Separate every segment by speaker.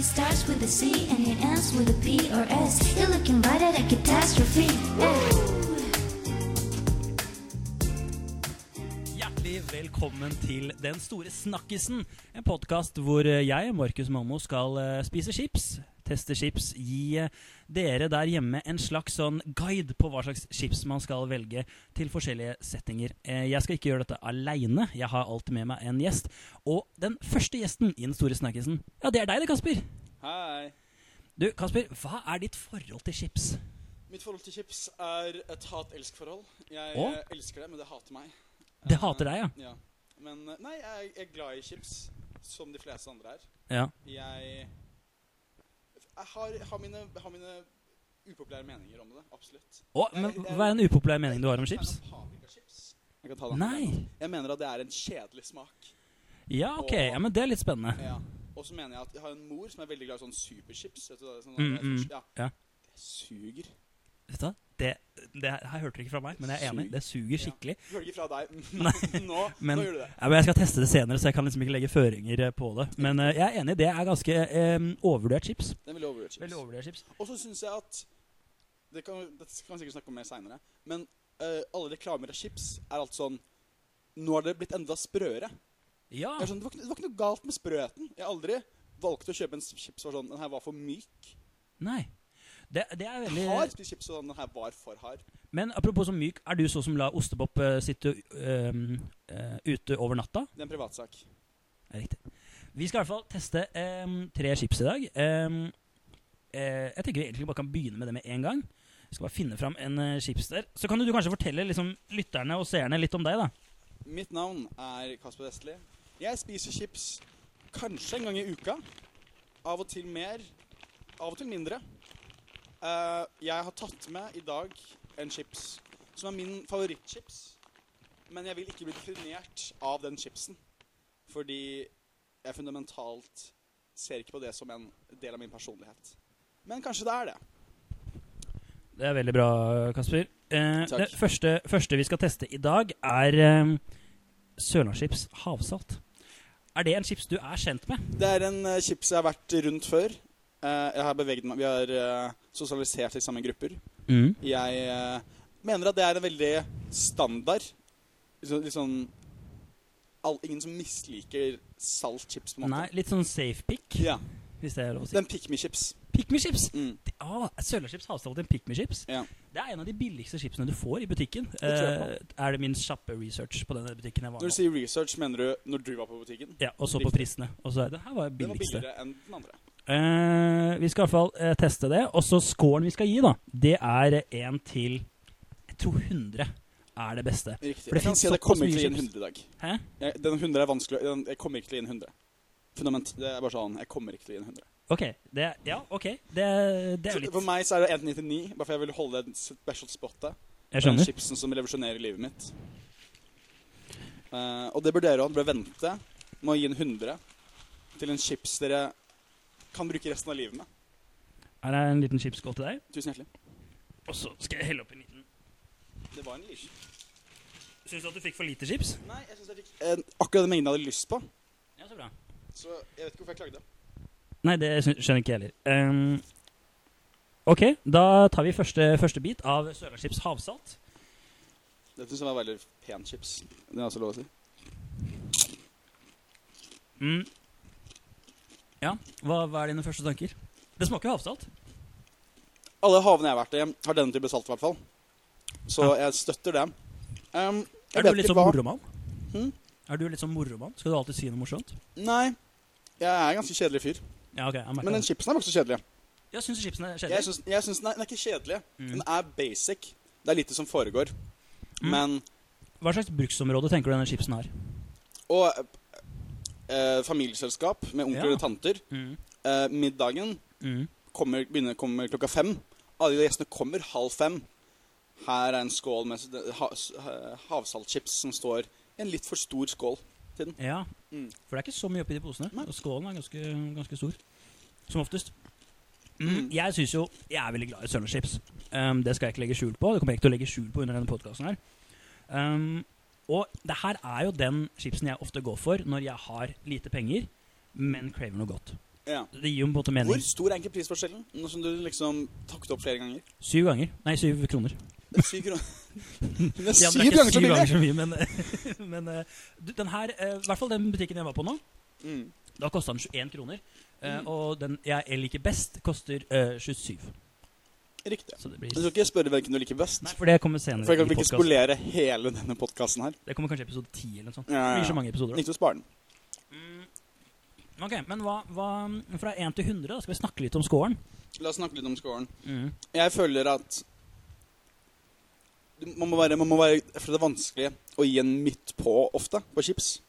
Speaker 1: starts with a C and it ends with a P or S. You're looking right at a catastrophe. Hey.
Speaker 2: Hjertelig velkommen til Den store snakkisen. En podkast hvor eh, jeg, Markus Mammo, skal eh, spise chips, teste chips, gi eh, dere der hjemme en slags sånn guide på hva slags chips man skal velge til forskjellige settinger. Eh, Jeg skal ikke gjøre dette aleine, jeg har alltid med meg en gjest. Og den første gjesten i Den store snakkisen, ja, det er deg det, Kasper.
Speaker 3: Hei.
Speaker 2: Du, Kasper, hva er ditt forhold til chips?
Speaker 3: Mitt forhold til chips er et hat-elsk-forhold. Jeg
Speaker 2: Å?
Speaker 3: eh, elsker det, men det hater meg. Eh,
Speaker 2: Det hater deg, ja.
Speaker 3: Ja. Men eh, nei, jeg er glad i chips, som de fleste andre er.
Speaker 2: Ja,
Speaker 3: Jeg, jeg har, har, mine, har mine upopulære meninger om det, absolutt.
Speaker 2: Å, men Hva er en upopulær mening du har om
Speaker 3: Jeg er
Speaker 2: chips?
Speaker 3: ikke fan av paprikachips. Jeg kan ta den.
Speaker 2: Nei.
Speaker 3: Jeg mener at det er en kjedelig smak.
Speaker 2: Ja, ok. Ja, men det er litt spennende.
Speaker 3: Ja. Og så mener jeg at jeg har en mor som er veldig glad i sånn superchips. Vet du, hva det er? sånn,
Speaker 2: Mm, mm.
Speaker 3: Ja,
Speaker 2: Ja.
Speaker 3: det suger.
Speaker 2: Vet du hva? Det, det her hørte du ikke fra meg, men jeg er enig.
Speaker 3: Suger.
Speaker 2: Det suger skikkelig.
Speaker 3: Du hørte ikke fra deg.
Speaker 2: Nei,
Speaker 3: nå,
Speaker 2: men-
Speaker 3: nå gjør du det.
Speaker 2: Ja, men jeg skal teste det senere, så jeg kan liksom ikke legge føringer eh, på det. Men eh, jeg er enig, det er ganske eh, overvurdert chips.
Speaker 3: Det er veldig overrated.
Speaker 2: overvurdert chips.
Speaker 3: Og så syns jeg at det kan, Dette kan vi sikkert snakke om mer seinere. Men eh, alle reklamer av chips er alt sånn Nå har det blitt enda sprøere.
Speaker 2: Ja.
Speaker 3: Jeg er sånn, det, var ikke, det var ikke noe galt med sprøheten. Jeg har aldri valgt å kjøpe en chips som var sånn Den her var for myk.
Speaker 2: Nei. Det, det er veldig
Speaker 3: Jeg har spist chips sånn den her var for hard.
Speaker 2: Men apropos så myk, er du sånn som lar ostepop eh, sitte eh, eh, ute over natta?
Speaker 3: Det er en privatsak.
Speaker 2: Det er Riktig. Vi skal i hvert fall teste eh, tre chips i dag. Eh, eh, jeg tenker vi egentlig bare kan begynne med det med en gang. Jeg skal bare finne fram en eh, chips der. Så kan du, du kanskje fortelle liksom, lytterne og seerne litt om deg, da.
Speaker 3: Mitt navn er Kasper Vestli. Jeg spiser chips kanskje en gang i uka. Av og til mer, av og til mindre. Eh, jeg har tatt med i dag en chips som er min favorittchips. Men jeg vil ikke bli krinert av den chipsen. Fordi jeg fundamentalt ser ikke på det som en del av min personlighet. Men kanskje det er det.
Speaker 2: Det er veldig bra, Kasper. Eh,
Speaker 3: Takk.
Speaker 2: det første, første vi skal teste i dag, er eh, Sørlandschips havsalt. Er det en chips du er kjent med?
Speaker 3: Det er en eh, chips jeg har vært rundt før. Eh, jeg har beveget meg, Vi har eh, sosialisert i samme grupper. Jeg eh, mener at det er en veldig standard Litt sånn- Litt sånn all, Ingen som misliker salt chips, på en måte.
Speaker 2: Nei, litt sånn safe pick,
Speaker 3: Ja.
Speaker 2: hvis det er lov å si.
Speaker 3: Den pick me chips.
Speaker 2: Pick me chips!
Speaker 3: Mm.
Speaker 2: Det- Ah, Sørlandschips havsalt til en pick me chips.
Speaker 3: Ja.
Speaker 2: Det er en av de billigste chipsene du får i butikken.
Speaker 3: tror jeg
Speaker 2: Eh, er det min kjappe research på denne butikken jeg var
Speaker 3: Når du
Speaker 2: på?
Speaker 3: sier research, mener du når du var på butikken?
Speaker 2: Ja, og så på
Speaker 3: Riktig.
Speaker 2: prisene. Og så er det her var
Speaker 3: Den var
Speaker 2: billigste.
Speaker 3: billigere enn den andre.
Speaker 2: Eh, vi skal i hvert fall eh, teste det. Og så scoren vi skal gi, da, det er én til Jeg tror 100 er det beste.
Speaker 3: Riktig.
Speaker 2: For det
Speaker 3: Jeg kan
Speaker 2: finnes
Speaker 3: si at jeg
Speaker 2: såpass
Speaker 3: kommer ikke
Speaker 2: mye
Speaker 3: til å gi en
Speaker 2: chips.
Speaker 3: 100 i dag.
Speaker 2: Hæ?
Speaker 3: Jeg, den 100 er vanskelig å- den, Jeg kommer ikke til å gi en 100. Fundament, det er bare sånn Jeg kommer ikke til å gi en 100.
Speaker 2: OK. Det, ja, ok. Det, det er jo
Speaker 3: Så
Speaker 2: litt
Speaker 3: For meg så er det 1,99, bare for jeg vil holde en special spot der.
Speaker 2: Jeg
Speaker 3: Den
Speaker 2: skjønner.
Speaker 3: chipsen som revolusjonerer livet mitt. Eh, og det bør dere òg. Dere bør vente med å gi en 100 til en chips dere kan bruke resten av livet med.
Speaker 2: Her er en liten chipsskål til deg.
Speaker 3: Tusen hjertelig.
Speaker 2: Og så skal jeg helle oppi en liten
Speaker 3: Det var en liten
Speaker 2: Syns du at du fikk for lite chips?
Speaker 3: Nei, jeg syns jeg fikk eh, akkurat den mengden jeg hadde lyst på.
Speaker 2: Ja, så bra.
Speaker 3: Så jeg vet ikke hvorfor jeg klagde.
Speaker 2: Nei, det skjø- skjønner ikke jeg heller. Ehm, OK, da tar vi første, første bit av Sørlandschips havsalt.
Speaker 3: Det syns jeg var veldig pen chips. Det er også lov å si.
Speaker 2: Mm. Ja, hva, hva er dine første tanker? Det smaker jo havsalt.
Speaker 3: Alle havene jeg har vært i, har denne type salt, i hvert fall. Så jeg støtter det. Em, jeg
Speaker 2: Er du
Speaker 3: vet
Speaker 2: litt
Speaker 3: ikke
Speaker 2: sånn
Speaker 3: hva-
Speaker 2: moromann?
Speaker 3: Hm?
Speaker 2: Er du litt sånn moromann? Skal du alltid si noe morsomt?
Speaker 3: Nei. Jeg er en ganske kjedelig fyr.
Speaker 2: Ja, ok, jeg
Speaker 3: Men
Speaker 2: merker
Speaker 3: den
Speaker 2: det.
Speaker 3: chipsen er faktisk kjedelig.
Speaker 2: Jeg syns chipsen er
Speaker 3: Jeg
Speaker 2: kjedelig.
Speaker 3: syns, jeg syns den, er, den er ikke kjedelig.
Speaker 2: Mm.
Speaker 3: Den er basic. Det er lite som foregår.
Speaker 2: Mm.
Speaker 3: Men
Speaker 2: Hva slags bruksområde tenker du denne chipsen har?
Speaker 3: Og eh, familieselskap med onkler
Speaker 2: Ja.
Speaker 3: og tanter. Eh, middagen
Speaker 2: Mm.
Speaker 3: kommer, begynner, kommer klokka fem. Alle de gjestene kommer halv fem. Her er en skål med s- det- ha, s- eh, havsaltchips som står i en litt for stor skål.
Speaker 2: Ja,
Speaker 3: Mm.
Speaker 2: for det er ikke så mye oppi de posene.
Speaker 3: Nei.
Speaker 2: Og skålen er ganske, ganske stor. Som oftest.
Speaker 3: Mm.
Speaker 2: Jeg syns jo Jeg er veldig glad i Sørlandschips. Um, det skal jeg ikke legge skjul på. Det kommer jeg ikke til å legge skjul på under denne podkasten her. Um, og det her er jo den chipsen jeg ofte går for når jeg har lite penger, men krever noe godt.
Speaker 3: Ja.
Speaker 2: Det gir jo på en måte
Speaker 3: Hvor
Speaker 2: mening.
Speaker 3: stor er egentlig prisforskjellen? Nå som du liksom takket opp flere ganger.
Speaker 2: Syv ganger. Nei, syv kroner.
Speaker 3: Det er syv kroner. Det
Speaker 2: De
Speaker 3: er
Speaker 2: andre
Speaker 3: syv
Speaker 2: er ikke
Speaker 3: ganger så
Speaker 2: syv ganger
Speaker 3: billig!
Speaker 2: så mye, men, men eh, du, den her, eh, i hvert fall den butikken jeg var på nå,
Speaker 3: Mm.
Speaker 2: da kosta den 21 kroner. eh, Og den jeg liker best, koster eh, 27.
Speaker 3: Riktig.
Speaker 2: Så det
Speaker 3: Jeg
Speaker 2: blir
Speaker 3: skal ikke spørre hvilken du liker best.
Speaker 2: Nei, for det kommer senere.
Speaker 3: For jeg
Speaker 2: i
Speaker 3: kan vel ikke
Speaker 2: podcasten.
Speaker 3: spolere hele denne podkasten her.
Speaker 2: Det kommer kanskje episode 10 eller noe sånt.
Speaker 3: Ja, ja,
Speaker 2: Det
Speaker 3: ja.
Speaker 2: blir så mange episoder. da.
Speaker 3: Ikke til å spare den.
Speaker 2: Ok, men hva, hva Fra 1 til 100, da skal vi snakke litt om scoren.
Speaker 3: La oss snakke litt om scoren. Jeg føler at du- man må være, man må være For det er vanskelig å gi en midt på ofte på chips.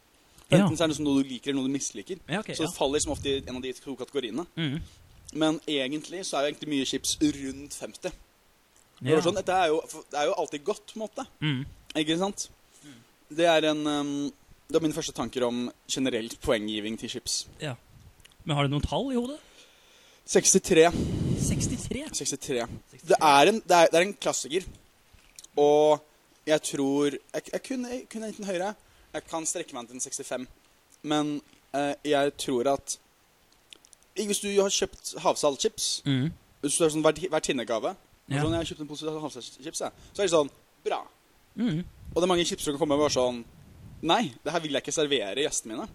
Speaker 3: For
Speaker 2: Ja.
Speaker 3: Enten så er det liksom noe du liker, eller noe du misliker.
Speaker 2: Ja, ok,
Speaker 3: Så
Speaker 2: ja.
Speaker 3: det faller liksom ofte i en av de to kategoriene.
Speaker 2: Mm.
Speaker 3: Men egentlig så er jo egentlig mye chips rundt 50. Det
Speaker 2: Ja.
Speaker 3: er, sånn, dette er, jo, for det er jo alltid godt, på en måte.
Speaker 2: Mm.
Speaker 3: Ikke sant? Det er en ehm, Det er mine første tanker om generelt poenggiving til chips.
Speaker 2: ja. Men har du noen tall i hodet?
Speaker 3: 63.
Speaker 2: 63?
Speaker 3: 63. Det er en, det er, det er en klassiker. Og jeg tror Jeg, jeg kunne, jeg kunne enten høyere. Jeg kan strekke meg til en 65. Men eh, jeg tror at Hvis du har kjøpt havsaltchips
Speaker 2: Mm.
Speaker 3: Hvis du har sånn vert- vertinnegave og
Speaker 2: Ja.
Speaker 3: sånn, 'Jeg har kjøpt en pose havsaltchips', jeg», så er det sånn Bra.
Speaker 2: Mm.
Speaker 3: Og det er mange chips som kan komme og være sånn Nei, det her vil jeg ikke servere gjestene mine.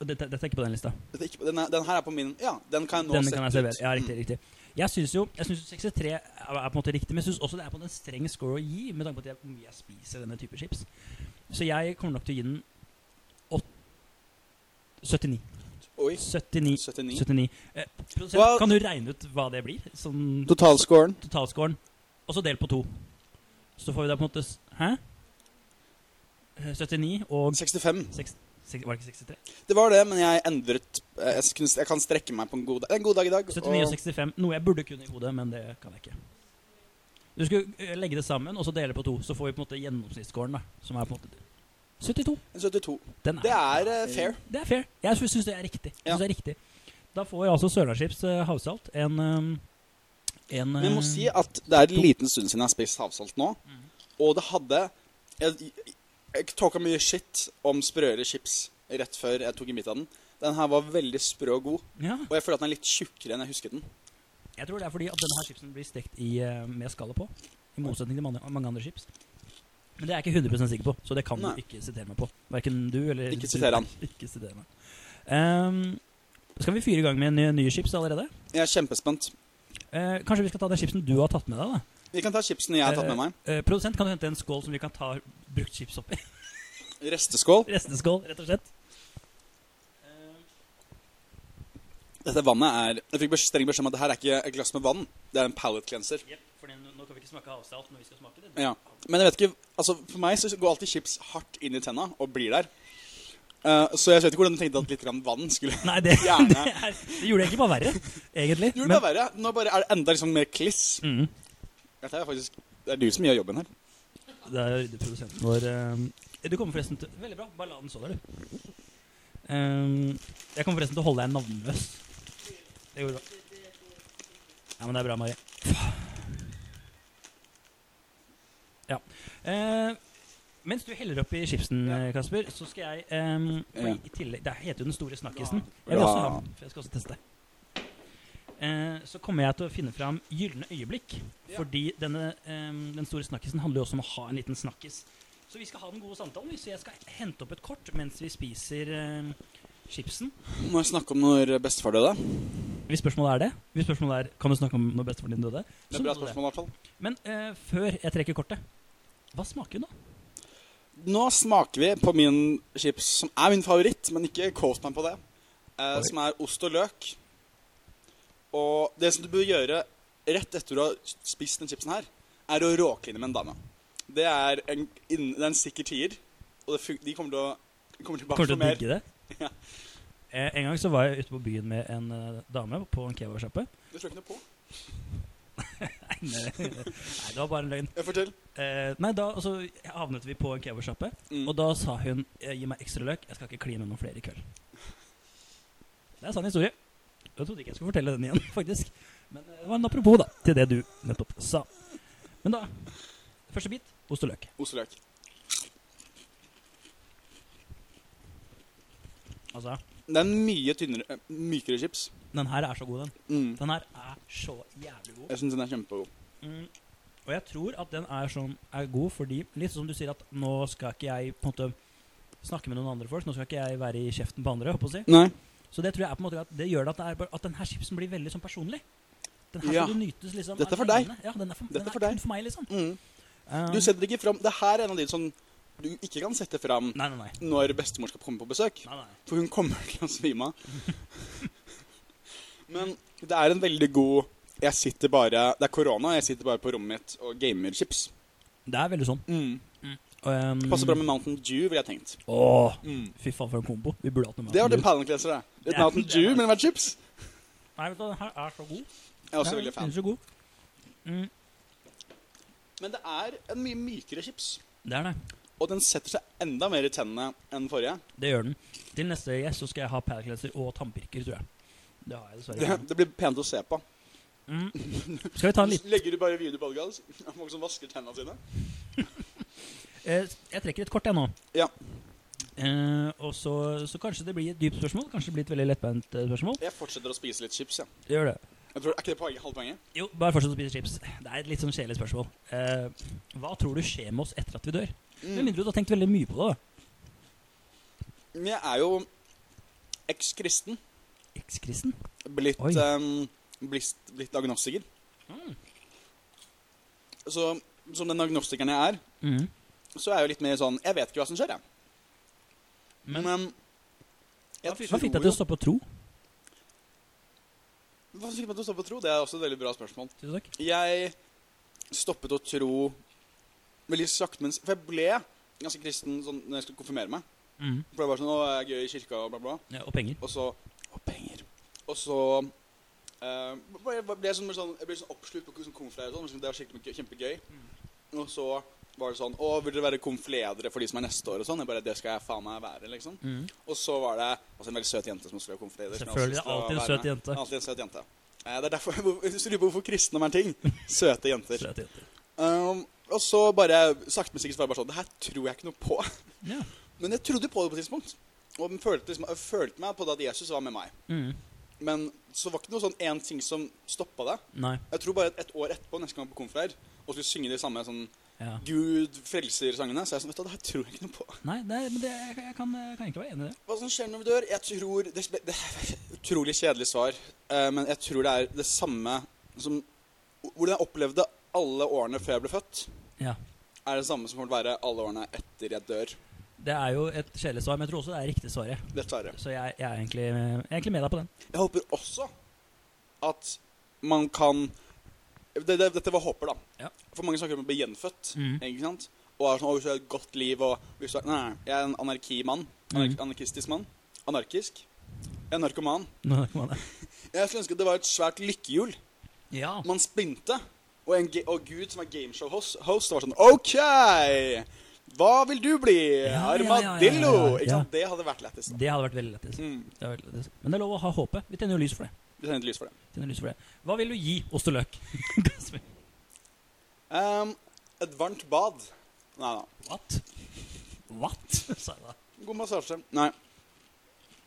Speaker 2: Dette, dette er ikke på den lista.
Speaker 3: Dette er ikke, den, er, den her er på min Ja, den kan jeg nå
Speaker 2: Denne kan jeg servere.
Speaker 3: ut. Mm.
Speaker 2: Ja, riktig, riktig. Jeg syns jo jeg synes 63 er er på en måte riktig, men jeg syns også det er på en streng score å gi, med tanke på at jeg, hvor mye jeg spiser denne type chips. Så jeg kommer nok til å gi den åt- 79.
Speaker 3: Oi.
Speaker 2: 79.
Speaker 3: 79.
Speaker 2: 79. Eh, produsent,
Speaker 3: Hva-
Speaker 2: kan du regne ut hva det blir? Sånn
Speaker 3: Totalscoren
Speaker 2: totalscoren, og så del på to. Så får vi da på en måte s- Hæ? Eh, 79 og
Speaker 3: 65.
Speaker 2: seks- seks- Var det ikke 63?
Speaker 3: Det var det, men jeg endret eh, Jeg, kunne, jeg kan strekke meg på en god dag. Det er en god dag i dag.
Speaker 2: 79 og 65. Noe jeg burde kunne i hodet, men det kan jeg ikke. Du skulle eh, legge det sammen og så dele på to. Så får vi på en måte gjennomsnittsscoren, da. Som er på en måte 72.
Speaker 3: en 72.
Speaker 2: Den er,
Speaker 3: Det er eh, fair.
Speaker 2: det er fair. Jeg sy- syns det er riktig. Jeg
Speaker 3: Ja.
Speaker 2: synes det er riktig. Da får jeg altså Sørlandschips eh, havsalt en, eh, en
Speaker 3: Men jeg må
Speaker 2: eh,
Speaker 3: si at det er en liten stund siden jeg har spist havsalt nå. Og det hadde Jeg, jeg, jeg talka mye shit om sprøere chips rett før jeg tok en bit av den. Den her var veldig sprø og god.
Speaker 2: ja,
Speaker 3: Og jeg føler at den er litt tjukkere enn jeg husket den.
Speaker 2: Jeg tror det er fordi at denne her chipsen blir stekt i, eh, med skallet på. I motsetning til mange, mange andre chips. Men det er jeg ikke 100 sikker på, så det kan
Speaker 3: Nei.
Speaker 2: du ikke sitere meg på. Hverken du eller
Speaker 3: Ikke sitere han.
Speaker 2: Ikke sitere meg. Ehm, skal vi fyre i gang med nye, nye chips allerede?
Speaker 3: Jeg er kjempespent.
Speaker 2: Eh, kanskje vi skal ta den chipsen du har tatt med deg? da
Speaker 3: Vi kan ta chipsene jeg har tatt med meg.
Speaker 2: Eh, eh, Produsent, kan du hente en skål som vi kan ta brukt chips oppi?
Speaker 3: Resteskål.
Speaker 2: Resteskål, rett og slett. Ehm,
Speaker 3: Dette vannet er Jeg fikk streng beskjed om at det her er ikke et glass med vann. Det er en palate cleanser.
Speaker 2: Jepp, for nå kan vi ikke smake havsalt når vi skal smake det.
Speaker 3: Ja. Men jeg vet ikke Altså, for meg så går alltid chips hardt inn i tenna og blir der. Eh, så jeg vet ikke hvordan du tenkte at litt grann vann skulle
Speaker 2: Nei, det, det,
Speaker 3: Gjerne.
Speaker 2: er, det gjorde det egentlig bare verre, egentlig.
Speaker 3: Gjorde det
Speaker 2: Men-
Speaker 3: bare verre. Nå bare er det enda liksom mer kliss.
Speaker 2: Mhm.
Speaker 3: Dette er faktisk Det er du som gjør jobben her.
Speaker 2: Det er produsenten vår. eh, Du kommer forresten til Veldig bra. Bare la den stå der, du. Eh, jeg kommer forresten til å holde deg navnløs. Det går bra. Ja, men det er bra, Mari. Ja. Eh, mens du heller oppi chipsen, eh, Kasper, så skal jeg eh, fordi
Speaker 3: Ja.
Speaker 2: i tillegg, Det heter jo Den store snakkisen. Jeg vil også ha den, for jeg skal også teste. Eh, så kommer jeg til å finne fram gylne øyeblikk. Fordi denne, ehm, den store snakkisen handler jo også om å ha en liten snakkis. Så vi skal ha den gode samtalen. vi. Så jeg skal hente opp et kort mens vi spiser ehm, chipsen.
Speaker 3: Må jeg snakke om når bestefar døde?
Speaker 2: Hvis spørsmålet er det, hvis spørsmålet er kan du snakke om når bestefaren din døde,
Speaker 3: Det
Speaker 2: så må
Speaker 3: er bra
Speaker 2: du det.
Speaker 3: spørsmål, i hvert fall.
Speaker 2: Men eh, før jeg trekker kortet Hva smaker hun, da?
Speaker 3: Nå smaker vi på min chips, som er min favoritt, men ikke kåt meg på det. eh, som er ost og løk. Og det som du bør gjøre rett etter du har spist den chipsen her, er å råkline med en dame. Det er en, inn- det er en sikker tier, og det fun de kommer til å kommer tilbake
Speaker 2: Kommer til
Speaker 3: for
Speaker 2: å
Speaker 3: mer.
Speaker 2: digge det.
Speaker 3: Ja.
Speaker 2: Eh, en gang så var jeg ute på byen med en eh, dame på en kebabsjappe.
Speaker 3: Du tror ikke noe på?
Speaker 2: Nei, nei, det var bare en løgn.
Speaker 3: Jeg fortell.
Speaker 2: Eh, nei, da og så havnet vi på en kebabsjappe,
Speaker 3: Mm.
Speaker 2: og da sa hun eh, 'gi meg ekstra løk, jeg skal ikke kline med noen flere i kveld'. Det er en sann historie. Jeg trodde ikke jeg skulle fortelle den igjen, faktisk. Men eh, det var en apropos da, til det du nettopp sa. Men da Første bit ost og løk.
Speaker 3: Ost og løk.
Speaker 2: Å, Altså,
Speaker 3: Det er mye tynnere, eh, mykere chips.
Speaker 2: den her er så god, den.
Speaker 3: Mm.
Speaker 2: Den her er så jævlig god.
Speaker 3: Jeg syns den er kjempegod.
Speaker 2: Mm. Og jeg tror at den er, sånn, er god fordi, litt som du sier, at nå skal ikke jeg på en måte snakke med noen andre folk. Nå skal ikke jeg være i kjeften på andre. holdt på å si.
Speaker 3: Nei.
Speaker 2: Så det tror jeg er på en måte at det gjør det at, det er, bare- at den her chipsen blir veldig sånn personlig. Den her
Speaker 3: Ja.
Speaker 2: skal du nytes liksom
Speaker 3: Dette er for
Speaker 2: alene. Ja, den er for,
Speaker 3: Dette
Speaker 2: den
Speaker 3: er
Speaker 2: er
Speaker 3: for
Speaker 2: kun
Speaker 3: deg.
Speaker 2: for meg, liksom.
Speaker 3: Mm.
Speaker 2: Um,
Speaker 3: Du setter ikke fram Det her er en av de som du ikke kan sette fram
Speaker 2: Um, Nei, nei, nei.
Speaker 3: når bestemor skal komme på besøk.
Speaker 2: nei, nei.
Speaker 3: For hun kommer til å svime av. Men det er en veldig god Jeg sitter bare Det er korona, jeg sitter bare på rommet mitt og gamer chips.
Speaker 2: Det er veldig sånn.
Speaker 3: Mm.
Speaker 2: Um,
Speaker 3: Passer bra med Mountain Dew, ville jeg tenkt.
Speaker 2: Åh,
Speaker 3: Mm.
Speaker 2: fy faen for en kombo. Vi burde hatt noe
Speaker 3: Det har
Speaker 2: Mountain
Speaker 3: vært en pallincleanser, det. Litt
Speaker 2: Ja,
Speaker 3: Mountain
Speaker 2: det er
Speaker 3: Dew,
Speaker 2: det.
Speaker 3: men det har vært chips.
Speaker 2: Dew. Nei, vet du, den her er så god.
Speaker 3: Jeg er også
Speaker 2: Den
Speaker 3: veldig
Speaker 2: den
Speaker 3: fan.
Speaker 2: er så god. Mm,
Speaker 3: Men det er en mye mykere chips.
Speaker 2: det er det.
Speaker 3: Og den setter seg enda mer i tennene enn forrige.
Speaker 2: Det gjør den. Til neste gjest så skal jeg ha padcleanser og tannpirker, tror jeg. Det har jeg
Speaker 3: Det,
Speaker 2: dessverre.
Speaker 3: det blir pent å se på.
Speaker 2: Mm. Skal vi ta en liten
Speaker 3: Legger du bare video på alle gass? Folk som vasker tennene sine?
Speaker 2: eh, Jeg trekker et kort, jeg nå.
Speaker 3: Ja.
Speaker 2: Eh, og så, så kanskje det blir et dypt spørsmål. Kanskje det blir et veldig lettbeint eh, spørsmål.
Speaker 3: Jeg fortsetter å spise litt chips, jeg.
Speaker 2: Det gjør det.
Speaker 3: jeg tror, er ikke det poenget? Halvpoenget?
Speaker 2: Jo, bare fortsett å spise chips. Det er et litt sånn kjedelig spørsmål. Eh, hva tror du skjer med oss etter at vi dør?
Speaker 3: Mm.
Speaker 2: Med mindre du har tenkt veldig mye på det. da.
Speaker 3: Men jeg er jo eks-kristen.
Speaker 2: Ekskristen?
Speaker 3: Blitt,
Speaker 2: Oi.
Speaker 3: ehm, blitt, blitt agnostiker.
Speaker 2: Hmm.
Speaker 3: Så som den agnostikeren jeg er,
Speaker 2: Mhm.
Speaker 3: så er jeg jo litt mer sånn Jeg vet ikke hva som skjer, jeg.
Speaker 2: Men-
Speaker 3: ehm, jeg
Speaker 2: Hva fikk deg til å stoppe å tro?
Speaker 3: Hva fikk meg til å stå på tro? Det er også et veldig bra spørsmål.
Speaker 2: Tusen takk.
Speaker 3: Jeg stoppet å tro veldig sakte, men s- For jeg ble ganske kristen sånn, når jeg skulle konfirmere meg.
Speaker 2: Mhm.
Speaker 3: For det var sånn, å, jeg er gøy i kirka og bla bla.
Speaker 2: Ja, og penger.
Speaker 3: Og så Og penger. Og så eh, ble jeg ble jeg sånn, mer sånn, jeg ble sånn oppslukt på sånn konflære og sånn. Det var skikkelig gøy- kjempegøy.
Speaker 2: Mm.
Speaker 3: Og så var det sånn Å, vil dere være konfledere for de som er neste år og sånn? Jeg bare Det skal jeg faen meg være, liksom.
Speaker 2: Mhm.
Speaker 3: Og så var det også en veldig søt jente som skulle være konfleder. som jeg
Speaker 2: Selvfølgelig,
Speaker 3: også skulle
Speaker 2: alltid en
Speaker 3: være
Speaker 2: søt
Speaker 3: med.
Speaker 2: jente.
Speaker 3: Alltid en søt jente. Eh, Det er derfor Hvis du lurer på hvorfor kristendom er en ting søte jenter.
Speaker 2: Søt jente.
Speaker 3: Um, og så bare sakte, men sikkert så var det bare sånn Det her tror jeg ikke noe på.
Speaker 2: Ja.
Speaker 3: Men jeg trodde på det på et tidspunkt. Og jeg følte, liksom, jeg følte meg på det at Jesus var med meg.
Speaker 2: Mhm.
Speaker 3: Men så var det ikke noe sånn én ting som stoppa det.
Speaker 2: Nei.
Speaker 3: Jeg tror bare et, et år etterpå, neste gang jeg var på konfleir, og skulle synge de samme sånn
Speaker 2: Ja.
Speaker 3: Gud frelser-sangene, så er jeg sånn Vet du, hva, det her tror jeg ikke noe på.
Speaker 2: Nei, det, er- men det, jeg, jeg kan, jeg kan egentlig være enig i det.
Speaker 3: Hva som skjer når vi dør? Jeg tror Det, det er utrolig kjedelig svar, eh, men jeg tror det er det samme som Hvordan jeg opplevde alle årene før jeg ble født,
Speaker 2: Ja.
Speaker 3: er det samme som kommer til å være alle årene etter jeg dør.
Speaker 2: Det er jo et kjedelig svar, men jeg tror også det er riktig svaret.
Speaker 3: Dessverre.
Speaker 2: Så jeg, jeg, er, egentlig, jeg er egentlig med deg på den.
Speaker 3: Jeg håper også at man kan det, det, Dette var håper, da.
Speaker 2: Ja.
Speaker 3: For mange snakker om å bli gjenfødt.
Speaker 2: Mhm.
Speaker 3: Ikke sant? Og er sånn, å, hvis du har et godt liv og hvis du er, Nei, nei, jeg er en anarkimann. Anar
Speaker 2: Mhm.
Speaker 3: Anarkistisk mann. Anarkisk. Jeg er narkoman.
Speaker 2: Nå kan man det.
Speaker 3: Jeg skulle ønske det var et svært lykkehjul.
Speaker 2: Ja.
Speaker 3: Man splinte, og, en, ge- og Gud som er gameshow-host, host, var sånn OK! Hva vil du bli?
Speaker 2: Ja, ja, ja, ja, ja,
Speaker 3: Armadillo!
Speaker 2: ja, ja.
Speaker 3: Ikke sant? Det hadde vært lettest. da.
Speaker 2: Det hadde vært veldig lettest.
Speaker 3: Mm.
Speaker 2: Det hadde vært lettest. Men det er lov å ha håpet. Vi tenner jo lys for det.
Speaker 3: Vi tenner et lys for det.
Speaker 2: Tenner lys for det. Hva vil du gi ost og løk?
Speaker 3: Ehm, et varmt bad. Nei da.
Speaker 2: What? What? sa jeg da.
Speaker 3: God massasje. Nei.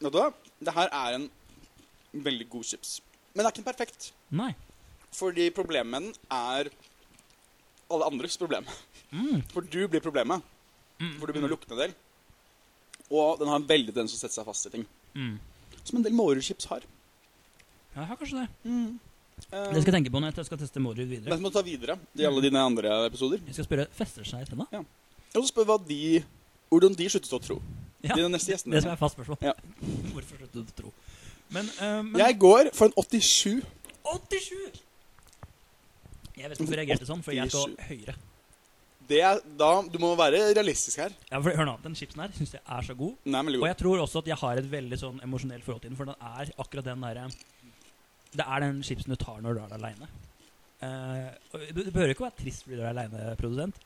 Speaker 3: Vet du hva? Det her er en veldig god chips. Men det er ikke en perfekt.
Speaker 2: Nei.
Speaker 3: Fordi problemet med den er alle andres problem.
Speaker 2: Mm.
Speaker 3: For du blir problemet. For du begynner å lukte en del. Og den har en veldig tendens til å sette seg fast i ting.
Speaker 2: Mm.
Speaker 3: Som en del mårechips har.
Speaker 2: Ja, jeg har kanskje det.
Speaker 3: Eh,
Speaker 2: Det skal jeg tenke på når jeg skal teste Mårud
Speaker 3: men
Speaker 2: videre.
Speaker 3: som må ta videre i
Speaker 2: Mm.
Speaker 3: alle dine andre episoder.
Speaker 2: Jeg skal spørre fester det seg i tenna.
Speaker 3: Og så spør hva de, hvordan de sluttet å tro.
Speaker 2: Ja,
Speaker 3: Dine neste gjestene.
Speaker 2: Det skal være fast spørsmål.
Speaker 3: Ja.
Speaker 2: Hvorfor sluttet du å tro? Men, eh, men
Speaker 3: Jeg går for en 87.
Speaker 2: 87! Jeg vet ikke hvorfor jeg reagerte sånn, for jeg skal
Speaker 3: 87.
Speaker 2: høyere.
Speaker 3: Det er da, du må være realistisk her.
Speaker 2: Ja, for, hør nå, Den chipsen her syns jeg er så god.
Speaker 3: Den er veldig
Speaker 2: Og
Speaker 3: god.
Speaker 2: jeg tror også at jeg har et veldig sånn emosjonelt forhold til den, for den er akkurat den derre Det er den chipsen du tar når du er aleine. du, du behøver ikke å være trist fordi du er aleine, produsent.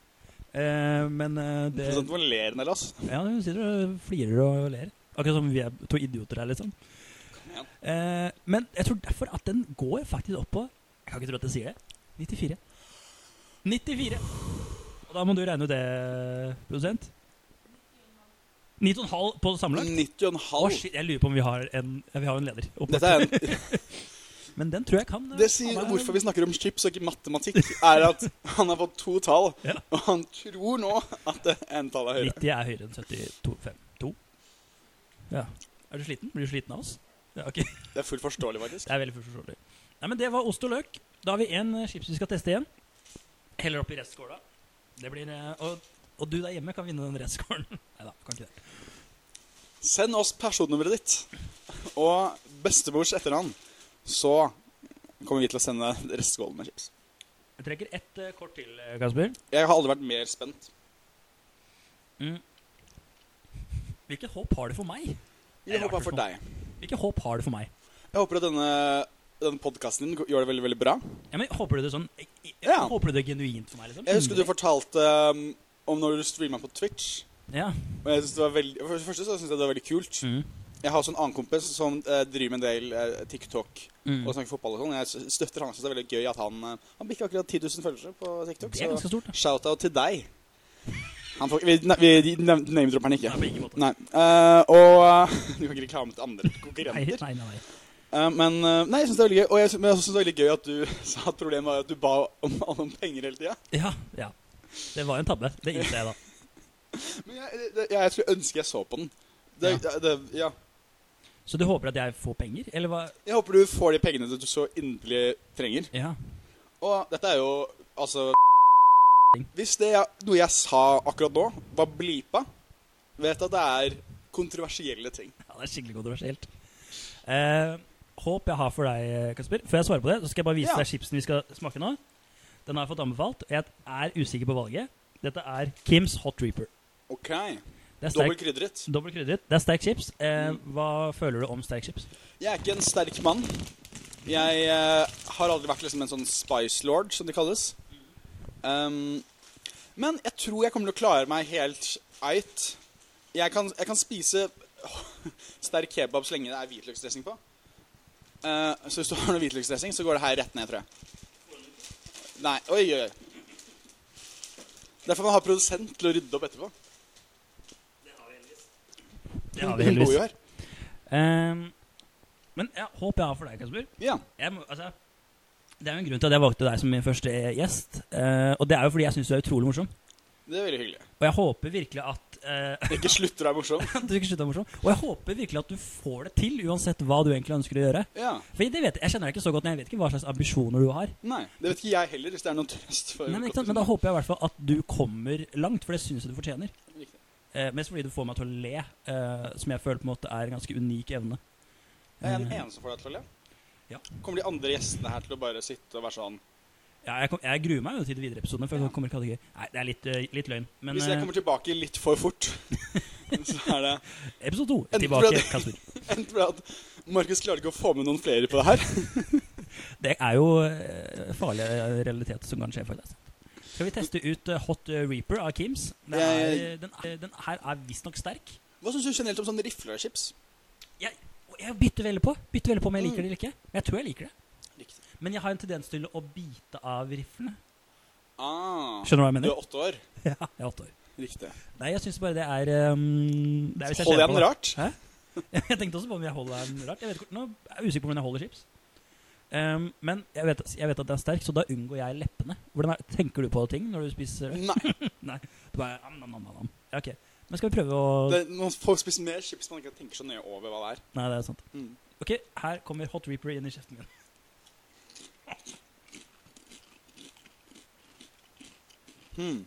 Speaker 2: Eh, men eh, det
Speaker 3: Sånn at man ler en del, ass.
Speaker 2: Ja, du sitter og flirer og ler. Akkurat som vi er to idioter her, liksom.
Speaker 3: igjen.
Speaker 2: Eh, men jeg tror derfor at den går faktisk opp på Jeg kan ikke tro at jeg sier det. 94. 94. Og da må du regne ut det, produsent. 9,5 på sammenlagt?
Speaker 3: 90,5.
Speaker 2: Å, shit, jeg lurer på om vi har en, ja, vi har en leder. Åpenbart.
Speaker 3: Oh. Dette er en,
Speaker 2: Men den tror jeg kan eh,
Speaker 3: det sier
Speaker 2: ha meg-
Speaker 3: hvorfor vi snakker om chips og ikke matematikk, er at han har fått to tall,
Speaker 2: Ja.
Speaker 3: og han tror nå at det ene tallet er høyere.
Speaker 2: 90 er høyere enn 72,52. Ja. Er du sliten? Blir du sliten av oss? Ja, ok.
Speaker 3: Det er fullt forståelig, faktisk.
Speaker 2: Det er veldig forståelig. Nei, men det var ost og løk. Da har vi en eh, chips vi skal teste igjen. Heller oppi restskåla. Det blir eh, og, og du der hjemme kan vinne den restskålen. Nei da, kan ikke det.
Speaker 3: Send oss personnummeret ditt og bestemors etternavn, så kommer vi til å sende restskålen med chips.
Speaker 2: Jeg trekker ett eh, kort til, eh, Kasper.
Speaker 3: Jeg har aldri vært mer spent.
Speaker 2: Hvilket håp har det for meg?
Speaker 3: Jeg
Speaker 2: Nei, det var
Speaker 3: håper for deg.
Speaker 2: Hvilket håp har det for meg?
Speaker 3: Jeg håper at denne, denne podkasten din gjør det veldig, veldig bra.
Speaker 2: Ja, men Håper du det sånn jeg, jeg,
Speaker 3: Ja.
Speaker 2: Håper du det genuint for meg, liksom?
Speaker 3: Jeg husker du fortalte um, om når du streama på Twitch.
Speaker 2: Ja.
Speaker 3: Og jeg synes det var veldig, for det første så synes jeg det var veldig kult.
Speaker 2: Mm.
Speaker 3: Jeg har også en annen kompis som eh, driver med en del eh, TikTok
Speaker 2: Mm.
Speaker 3: og snakker fotball og sånn. Jeg s- støtter han. Jeg synes det er veldig gøy at han eh, Han bikker akkurat 10 000 følgere på TikTok.
Speaker 2: Det er ganske stort. da.
Speaker 3: Så shout-out til deg. Han får, vi ne- vi nev- name-dropper han ikke.
Speaker 2: Nei, på ingen måte.
Speaker 3: Nei. Eh, og Du kan ikke reklame til andre
Speaker 2: Nei,
Speaker 3: konkurrenter.
Speaker 2: nei, nei. nei.
Speaker 3: Eh, men eh, nei, jeg synes det er veldig gøy. Og jeg synes, men jeg synes det er veldig gøy at du sa at problemet var at du ba om, om penger hele tida.
Speaker 2: Ja, ja. Det var en tabbe. Det innser jeg da.
Speaker 3: Men jeg, det, jeg, jeg skulle ønske jeg så på den. Det, det, det, ja.
Speaker 2: Så du håper at jeg får penger, eller hva?
Speaker 3: Jeg håper du får de pengene du så inderlig trenger.
Speaker 2: Ja.
Speaker 3: Og dette er jo altså Hvis det jeg, noe jeg sa akkurat nå, var blipa, vet at det er kontroversielle ting.
Speaker 2: Ja, det er skikkelig kontroversielt. Eh, håp jeg har for deg, Kasper. Før jeg svarer på det, så skal jeg bare vise
Speaker 3: Ja.
Speaker 2: deg chipsen vi skal smake nå. Den har jeg fått anbefalt. og Jeg er usikker på valget. Dette er Kims Hot Reaper.
Speaker 3: OK.
Speaker 2: Det er
Speaker 3: Dobbelt
Speaker 2: sterk,
Speaker 3: krydret.
Speaker 2: dobbelt krydret. Det er sterk chips. Eh, hva føler du om sterk chips?
Speaker 3: Jeg er ikke en sterk mann. Jeg eh, har aldri vært liksom en sånn spice lord, som det kalles. Um, men jeg tror jeg kommer til å klare meg helt eit. Jeg kan, jeg kan spise sterk kebab så lenge det er hvitløksdressing på. Eh, så hvis du har noe hvitløksdressing, så går det her rett ned, tror jeg. Nei, oi, oi, oi. Derfor man har produsent til å rydde opp etterpå.
Speaker 2: Det har vi
Speaker 3: Hun bor
Speaker 2: heldigvis.
Speaker 3: jo her.
Speaker 2: Eh, men ja, håp jeg har for deg, Kasper.
Speaker 3: Ja.
Speaker 2: jeg må, altså, det er jo en grunn til at jeg valgte deg som min første eh, gjest. eh, og det er jo fordi jeg syns du er utrolig morsom.
Speaker 3: Det er veldig hyggelig.
Speaker 2: Og jeg håper virkelig at eh,
Speaker 3: Ikke slutt å være morsom.
Speaker 2: Du skal slutte å være morsom. Og jeg håper virkelig at du får det til, uansett hva du egentlig ønsker å gjøre.
Speaker 3: Ja.
Speaker 2: For det vet jeg, jeg kjenner deg ikke så godt, men jeg vet ikke hva slags ambisjoner du har.
Speaker 3: Nei, det vet ikke jeg heller, hvis det er noen trøst for
Speaker 2: Nei, men, ikke sant? men da håper jeg i hvert fall at du kommer langt, for det syns jeg du fortjener.
Speaker 3: Riktig.
Speaker 2: Eh, mest fordi du får meg til å le, eh, som jeg føler på en måte er en ganske unik evne.
Speaker 3: Jeg er den
Speaker 2: Eh,
Speaker 3: eneste for deg til å le.
Speaker 2: Ja.
Speaker 3: Kommer de andre gjestene her til å bare sitte og være sånn
Speaker 2: ja, jeg, kom, jeg gruer meg jo til de videre episodene, for
Speaker 3: Ja.
Speaker 2: jeg kommer ikke til å ha det gøy. Nei, det er litt, eh, litt løgn. Men
Speaker 3: Hvis jeg
Speaker 2: eh,
Speaker 3: kommer tilbake litt for fort, så er det
Speaker 2: eh, episode to
Speaker 3: Endelig ble
Speaker 2: tilbake,
Speaker 3: det-
Speaker 2: Kasper.
Speaker 3: enten fordi at Markus klarer ikke å få med noen flere på det her.
Speaker 2: Det er jo eh, farlig eh, realitet som kan skje, faktisk. Skal vi teste ut eh, Hot Reaper av Kims? Den, er,
Speaker 3: Jeg-
Speaker 2: den, er- den her er visstnok sterk.
Speaker 3: Hva syns du generelt om sånne rifler og chips?
Speaker 2: Jeg, og jeg bytter veldig på Bytter veldig på om jeg liker det eller ikke. Men jeg tror jeg liker det.
Speaker 3: Riktig.
Speaker 2: Men jeg har en tendens til å bite av riflene.
Speaker 3: Ah,
Speaker 2: Skjønner du hva jeg
Speaker 3: du er
Speaker 2: mener?
Speaker 3: åtte år.
Speaker 2: Ja, jeg er åtte år.
Speaker 3: Riktig.
Speaker 2: Nei, jeg syns bare det er um, det er hvis jeg kjenner
Speaker 3: Holder jeg
Speaker 2: på det.
Speaker 3: den rart?
Speaker 2: Hæ? Jeg tenkte også på om jeg holder den rart. Jeg vet ikke, nå er jeg usikker på hvordan jeg holder chips. Um, men jeg vet, jeg vet at den er sterk, så da unngår jeg leppene. Hvordan er, Tenker du på ting når du spiser
Speaker 3: Nei.
Speaker 2: Du bare, am, nam, nam, nam, nam. Ja, ok. Men skal vi prøve å
Speaker 3: Det, man får spist mer chips man ikke tenker så nøye over hva det er.
Speaker 2: Nei, det er sant.
Speaker 3: Mm.
Speaker 2: Ok, her kommer Hot Reaper inn i kjeften min.
Speaker 3: Hmm.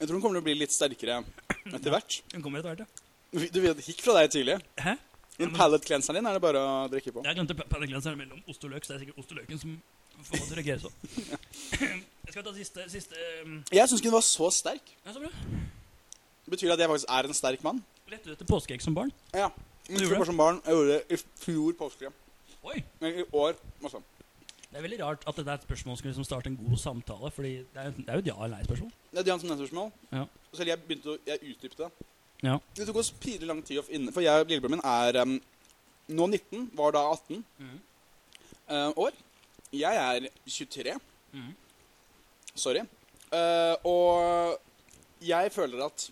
Speaker 3: Jeg tror den kommer til å bli litt sterkere etter hvert.
Speaker 2: Hun kommer etter hvert, ja.
Speaker 3: Du vet, det gikk fra deg tidlig.
Speaker 2: Hæ?
Speaker 3: Den pallet-klenseren din er det bare å drikke på.
Speaker 2: Jeg glemte pe- penneglanseren mellom ost og løk, så det er sikkert ost og løken som får meg til å reagere sånn. Jeg skal ta siste, siste um,
Speaker 3: Jeg syns ikke den var så sterk.
Speaker 2: Ja, så bra.
Speaker 3: Betyr det at jeg faktisk er en sterk mann?
Speaker 2: Lette du etter påskeegg som barn?
Speaker 3: Ja. Jeg
Speaker 2: Gjorde
Speaker 3: tror
Speaker 2: det?
Speaker 3: bare som barn. Jeg gjorde det i fjor påske.
Speaker 2: Oi!
Speaker 3: Eller i år. Også.
Speaker 2: Det er veldig rart at dette er et spørsmål som skulle liksom starte en god samtale, fordi det er, jo- det er jo et ja- eller nei-spørsmål.
Speaker 3: Det er Jan som neste spørsmål.
Speaker 2: Ja.
Speaker 3: Selv jeg begynte å jeg utdypte det.
Speaker 2: Ja.
Speaker 3: Det tok oss pinlig lang tid å finne For jeg og lillebroren min er em, nå 19, var da 18
Speaker 2: Mhm.
Speaker 3: eh, år. Jeg er 23.
Speaker 2: Mhm.
Speaker 3: Sorry. Eh, og jeg føler at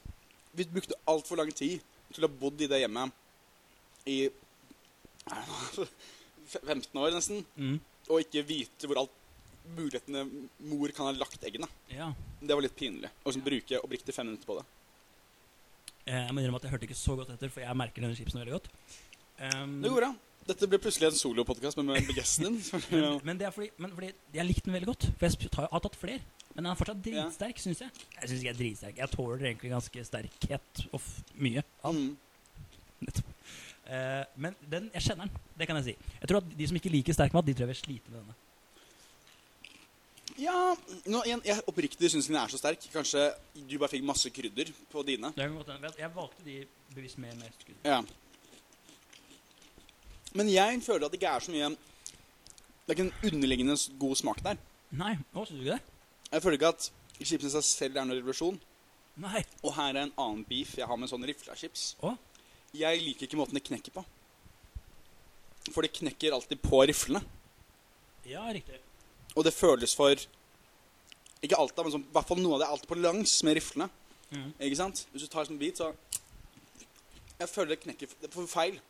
Speaker 3: vi brukte altfor lang tid til å ha bodd i det hjemmet i I don't know, 15 år nesten,
Speaker 2: Mm.
Speaker 3: og ikke vite hvor alt mulighetene mor kan ha lagt eggene.
Speaker 2: Ja.
Speaker 3: Det var litt pinlig. Og så bruke oppriktig fem minutter på det.
Speaker 2: Eh, Jeg må innrømme at jeg hørte ikke så godt etter, for jeg merker denne chipsen veldig godt. Um,
Speaker 3: Det går bra. Dette ble plutselig en solopodkast med, med gjesten din. Så-
Speaker 2: Men, men det er fordi, men fordi jeg likte den veldig godt. For jeg sp- tar, har tatt flere. Men den er fortsatt dritsterk, syns jeg. Jeg synes ikke jeg er dritsterk. Jeg tåler egentlig ganske sterkhet og f mye.
Speaker 3: Mm.
Speaker 2: Eh, men den, jeg kjenner den. Det kan jeg si. Jeg tror at De som ikke liker sterk mat, de tror jeg vil slite med denne.
Speaker 3: Ja, nå, igjen, jeg oppriktig syns den er så sterk. Kanskje du bare fikk masse krydder på dine.
Speaker 2: Det er godt, hende. jeg valgte de bevisst med mest skudd.
Speaker 3: Ja. Men jeg føler at det ikke er så mye Det er ikke en underliggende s- god smak der.
Speaker 2: Nei, å, synes du ikke det?
Speaker 3: Jeg føler ikke at chipsen i seg selv er noen revolusjon.
Speaker 2: Nei.
Speaker 3: Og her er en annen beef jeg har med sånn rifla-chips.
Speaker 2: Å?
Speaker 3: Jeg liker ikke måten det knekker på. For det knekker alltid på riflene.
Speaker 2: Ja, riktig.
Speaker 3: Og det føles for Ikke alt, da, men sånn, i hvert fall noe av det er alltid på langs med riflene.
Speaker 2: Mhm.
Speaker 3: Ikke sant? Hvis du tar en sånn bit, så Jeg føler det knekker Det er for feil.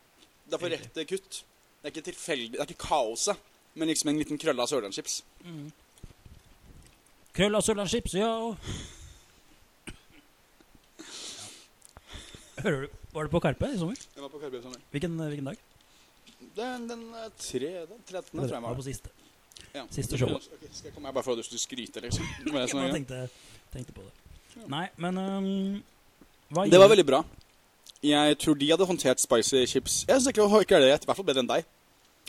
Speaker 3: Det er for
Speaker 2: Riktig.
Speaker 3: rette kutt. Det er ikke tilfeldig. Det er ikke kaoset, men liksom en liten krølle av sørlandschips.
Speaker 2: Krøll og sørlandschips, ja. Hører du, Var du på Karpe i sommer?
Speaker 3: Jeg var på Karpe i sommer.
Speaker 2: Hvilken, hvilken dag?
Speaker 3: Den, den eh, tre, den 13. tror
Speaker 2: Det
Speaker 3: jeg den
Speaker 2: var
Speaker 3: var.
Speaker 2: på siste.
Speaker 3: Ja.
Speaker 2: siste show.
Speaker 3: Ok, skal jeg komme her bare for at du skulle skryte, liksom? Det var, jeg
Speaker 2: Jeg bare
Speaker 3: som-
Speaker 2: tenkte, tenkte på det.
Speaker 3: Ja.
Speaker 2: Nei, men øhm, hva
Speaker 3: det
Speaker 2: gjør-
Speaker 3: var veldig bra. Jeg tror de hadde håndtert spicy chips Jeg synes ikke ikke er det rett, i hvert fall bedre enn deg.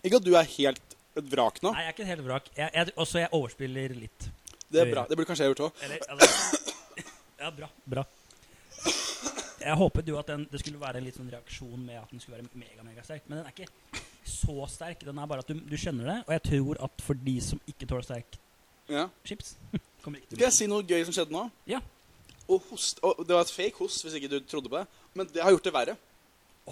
Speaker 3: Ikke at du er helt et vrak nå.
Speaker 2: Nei, jeg er ikke helt vrak. Jeg, jeg, også jeg overspiller litt.
Speaker 3: Det er bra. Det burde kanskje jeg gjort òg.
Speaker 2: Eller, eller Ja, bra. Bra. Jeg håpet jo at den, det skulle være en litt sånn reaksjon med at den skulle være mega-megasterk, men den er ikke så sterk. Den er bare at du, du skjønner det, og jeg tror at for de som ikke tåler sterk
Speaker 3: Ja.
Speaker 2: chips kommer ikke
Speaker 3: Skal
Speaker 2: til å
Speaker 3: jeg si noe gøy som skjedde nå?
Speaker 2: Ja.
Speaker 3: Og host, og det var et fake host, hvis ikke du trodde på det. Men det har gjort det verre.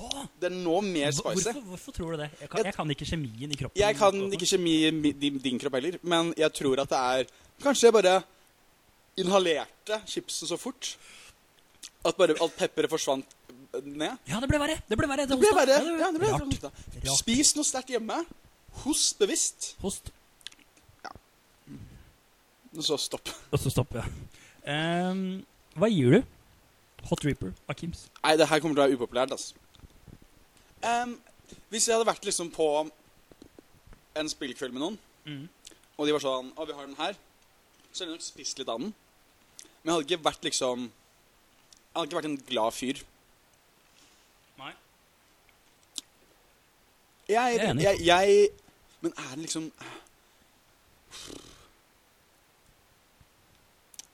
Speaker 2: Åh,
Speaker 3: Det er nå mer
Speaker 2: hvor-
Speaker 3: spicy.
Speaker 2: hvorfor, hvorfor tror du det? Jeg kan, jeg kan ikke kjemien i kroppen.
Speaker 3: Jeg kan ikke kjemi i mi- din, din kropp heller, men jeg tror at det er Kanskje jeg bare inhalerte chipsen så fort at bare alt pepperet forsvant ned.
Speaker 2: Ja, det ble verre! Det ble verre.
Speaker 3: Det ble verre.
Speaker 2: Ja,
Speaker 3: Ja, det ble sånn-
Speaker 2: Rart.
Speaker 3: rart. Spis noe sterkt hjemme. Host bevisst.
Speaker 2: Host.
Speaker 3: Og så stopp.
Speaker 2: Og så stopper jeg. Ehm, hva gir du? Hot Reaper av Kims.
Speaker 3: Nei, det her kommer til å være upopulært, altså. Ehm, hvis jeg hadde vært liksom på en spillkveld med noen,
Speaker 2: Mhm.
Speaker 3: og de var sånn Å, vi har den her. Så hadde jeg nok spist litt av den. Men jeg hadde ikke vært liksom Jeg hadde ikke vært en glad fyr.
Speaker 2: Nei.
Speaker 3: Jeg,
Speaker 2: Jeg er enig.
Speaker 3: jeg, jeg Men er det liksom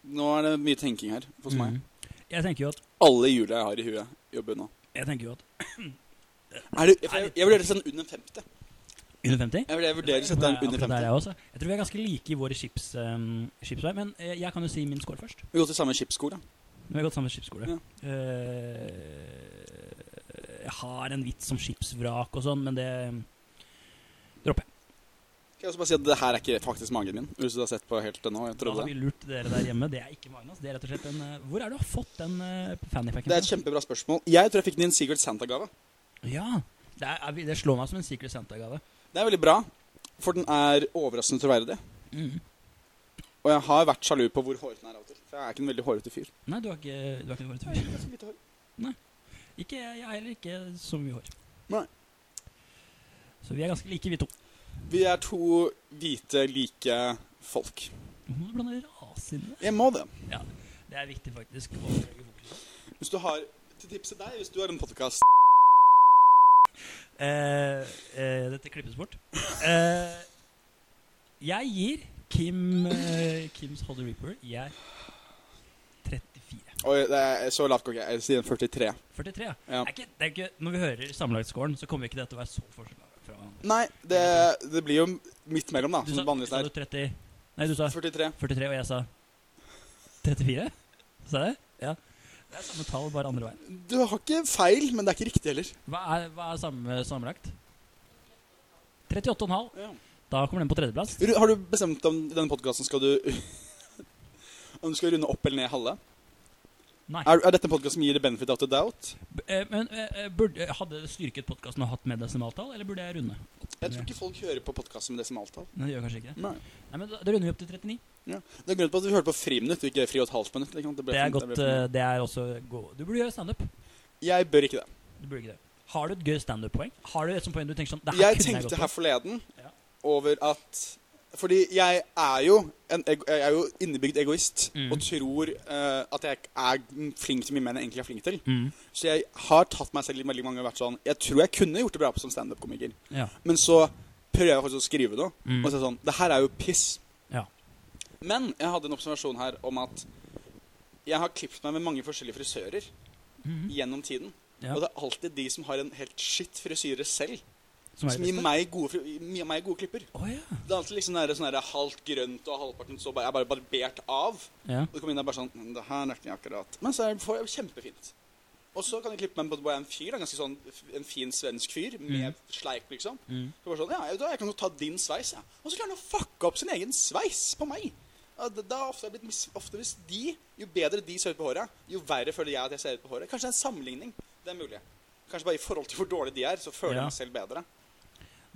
Speaker 3: Nå er det mye tenking her hos
Speaker 2: Mhm.
Speaker 3: meg.
Speaker 2: Mm. Jeg tenker jo at,
Speaker 3: Alle hjula jeg har i huet, jobber nå.
Speaker 2: jeg tenker jo at
Speaker 3: Er det, jeg, jeg vurderer å sette den under 50.
Speaker 2: Under 50?
Speaker 3: Jeg vurderer- jeg vurderer å sette den under
Speaker 2: Akkurat der er
Speaker 3: 50.
Speaker 2: jeg, også. jeg tror vi er ganske like i våre chips, ehm, chipsvei, men eh, jeg kan jo si min score først.
Speaker 3: Vi går til samme
Speaker 2: Nå
Speaker 3: chipsskole.
Speaker 2: har jeg gått sammen med skipsskole.
Speaker 3: Ja.
Speaker 2: Eh, jeg har en vits om skipsvrak og sånn, men det
Speaker 3: Kan jeg også bare si at det her er ikke faktisk magen min, hvis du har sett på helt til nå.
Speaker 2: Da har
Speaker 3: Jeg trodde
Speaker 2: altså, vi
Speaker 3: det.
Speaker 2: lurt dere der hjemme. Det er ikke Magnus. Det er rett og slett en eh, Hvor er det du har fått den uh, fannypacken?
Speaker 3: det er et kjempebra spørsmål. Jeg tror jeg fikk den i en Secret Santa-gave.
Speaker 2: Ja. Det, er, er vi- det slår meg som en Secret Santa-gave.
Speaker 3: Det er veldig bra, for den er overraskende troverdig.
Speaker 2: Mhm.
Speaker 3: Og jeg har vært sjalu på hvor hårete den er av og til. For jeg er ikke en veldig hårete fyr.
Speaker 2: Nei, du har ikke du har ikke
Speaker 3: Nei,
Speaker 2: noe
Speaker 3: jeg har så lite hår.
Speaker 2: Ikke jeg jeg har heller ikke så mye hår.
Speaker 3: Nei.
Speaker 2: Så vi er ganske like, vi to.
Speaker 3: Vi er to hvite, like folk.
Speaker 2: Hvorfor må du blande rase inn i det?
Speaker 3: Jeg må det.
Speaker 2: Ja, det er viktig faktisk. å holde fokuset.
Speaker 3: Hvis du har til tipset deg, hvis du har en podkast
Speaker 2: Eh, eh, dette klippes bort. Eh, jeg gir Kim eh, Kims Holly Reaper Jeg 34.
Speaker 3: Oi, det er så lavt går ikke jeg. Jeg sier en 43.
Speaker 2: 43, ja.
Speaker 3: Ja.
Speaker 2: Det er ikke, det er ikke, når vi hører sammenlagtscoren, så kommer ikke det til å være så forskjellig fra hverandre.
Speaker 3: Nei, det, det blir jo midt mellom, da.
Speaker 2: Du
Speaker 3: Som
Speaker 2: sa,
Speaker 3: vanligvis
Speaker 2: sa
Speaker 3: er.
Speaker 2: du 30 Nei, du sa
Speaker 3: 43.
Speaker 2: 43, og jeg sa 34? Sa jeg det? Ja. Det er samme tall, bare andre veien.
Speaker 3: Du har ikke feil, men det er ikke riktig heller.
Speaker 2: Hva er, hva er samme sammenlagt? 38,5.
Speaker 3: Ja.
Speaker 2: Da kommer den på tredjeplass.
Speaker 3: Ru- Har du bestemt om i denne podkasten skal du Om du skal runde opp eller ned halve?
Speaker 2: Nei.
Speaker 3: Er, er dette en podkast som gir the benefit of the doubt?
Speaker 2: B- eh, Men eh, eh, burde, hadde det styrket podkasten å hatt med desimaltall, eller burde jeg runde?
Speaker 3: Jeg tror ikke folk hører på podkasten med desimaltall.
Speaker 2: Nei, det gjør kanskje ikke det.
Speaker 3: Nei.
Speaker 2: Nei, men da, da runder vi opp til 39.
Speaker 3: Ja. Det er grunnen til at vi hørte på friminutt, og ikke fri og et halvt minutt. ikke sant? ble
Speaker 2: Det er
Speaker 3: fint,
Speaker 2: godt.
Speaker 3: ble fint.
Speaker 2: eh, Det er også go Du burde gjøre standup.
Speaker 3: Jeg bør ikke det.
Speaker 2: Du burde ikke det. Har du et gøy standup-poeng? Har du et sånt poeng du tenker sånn Det her
Speaker 3: Jeg
Speaker 2: kunne jeg
Speaker 3: tenkte
Speaker 2: gått
Speaker 3: her
Speaker 2: på.
Speaker 3: forleden
Speaker 2: Ja.
Speaker 3: over at Fordi jeg er jo en ego, jeg er jo innebygd egoist
Speaker 2: Mm.
Speaker 3: og tror eh, at jeg er flink til mye mer enn jeg egentlig er flink til.
Speaker 2: Mm.
Speaker 3: Så jeg har tatt meg selv i veldig mange ganger og vært sånn Jeg tror jeg kunne gjort det bra som standup-komiker,
Speaker 2: Ja.
Speaker 3: men så prøver jeg faktisk å skrive noe,
Speaker 2: Mm.
Speaker 3: og så er det sånn Det her er jo piss.
Speaker 2: Ja.
Speaker 3: Men jeg hadde en observasjon her om at jeg har klippet meg med mange forskjellige frisører
Speaker 2: Mhm.
Speaker 3: gjennom tiden.
Speaker 2: Ja.
Speaker 3: Og det er alltid de som har en helt shit frisyre selv,
Speaker 2: Som er
Speaker 3: som gir meg gode, fri- gir meg gode klipper.
Speaker 2: Å ja.
Speaker 3: Det er alltid liksom nære, sånn der halvt grønt og halvparten så bare, jeg er bare barbert av.
Speaker 2: ja.
Speaker 3: Og det kommer inn der bare sånn "Mm, Det her nøkte jeg akkurat. Men så er det får jeg kjempefint. Og så kan jeg klippe meg på at jeg er en fyr. da, Ganske sånn f- en fin svensk fyr med sleik, liksom.
Speaker 2: Mm.
Speaker 3: Så bare sånn Ja, jeg, vet du hva, jeg kan jo ta din sveis, jeg. Og så klarer han å fucke opp sin egen sveis på meg. Ja, det- Da har ofte, jeg blitt mis, ofte hvis de Jo bedre de ser ut på håret, jo verre føler jeg at jeg ser ut på håret. Kanskje det er en sammenligning. Det er mulig. Kanskje bare i forhold til hvor dårlige de er, så
Speaker 2: Ja.
Speaker 3: føler jeg meg selv bedre.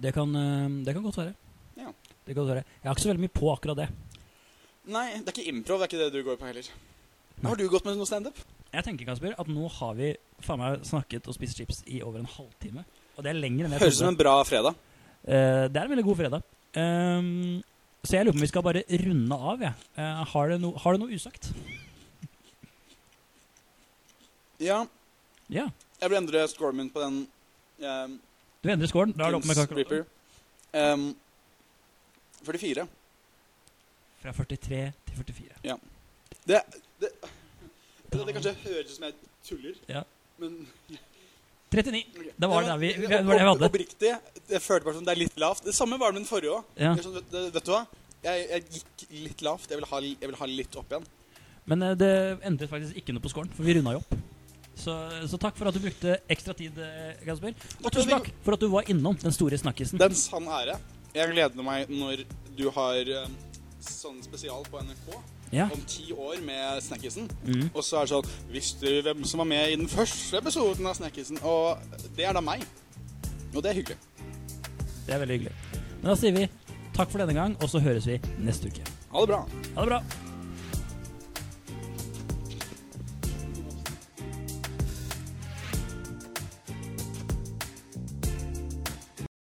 Speaker 2: Det kan, eh, det kan godt være.
Speaker 3: Ja.
Speaker 2: Det kan godt være. Jeg har ikke så veldig mye på akkurat det.
Speaker 3: Nei, det er ikke improv. Det er ikke det du går på heller. Har du gått med noe standup?
Speaker 2: Jeg tenker, Kasper, at nå har vi faen meg snakket og spist chips i over en halvtime. Og det er lenger enn jeg
Speaker 3: Høres ut som en
Speaker 2: trodde.
Speaker 3: bra fredag.
Speaker 2: Eh, det er en veldig god fredag. Ehm, så jeg lurer på om vi skal bare runde av, jeg. Eh, har, det no, har du noe usagt?
Speaker 3: Ja,
Speaker 2: Ja.
Speaker 3: jeg vil endre scoren min på den um,
Speaker 2: Du endrer scoren. Da er det opp med
Speaker 3: Kings Reaper.
Speaker 2: kalkulatoren.
Speaker 3: Um, 44.
Speaker 2: Fra 43 til 44.
Speaker 3: Det, det, det, det kanskje høres ut som jeg tuller,
Speaker 2: Ja.
Speaker 3: men
Speaker 2: 39.
Speaker 3: ok.
Speaker 2: Det var det vi-
Speaker 3: men-
Speaker 2: det var det vi hadde.
Speaker 3: Oppriktig. Jeg følte bare som det er litt lavt. Det samme var det med den forrige òg.
Speaker 2: Ja.
Speaker 3: Sånn, vet, vet du hva? Jeg, jeg gikk litt lavt. Jeg vil ha, jeg vil ha litt opp igjen.
Speaker 2: Men eh, det endret faktisk ikke noe på scoren, for vi runda jo opp. Så, så takk for at du brukte ekstra tid, eh, Kasper. Og tusen takk for at du var innom den store snakkisen.
Speaker 3: Det er en sann ære. Jeg gleder meg når du har um, sånn spesial på NRK
Speaker 2: Ja.
Speaker 3: om ti år med Snackisen.
Speaker 2: Mm.
Speaker 3: Og så er det sånn Visste du hvem som var med i den første episoden av Snekkisen? Og det er da meg. Og det er hyggelig.
Speaker 2: Det er veldig hyggelig. Men da sier vi takk for denne gang, og så høres vi neste uke.
Speaker 3: Ha det bra.
Speaker 2: Ha det bra.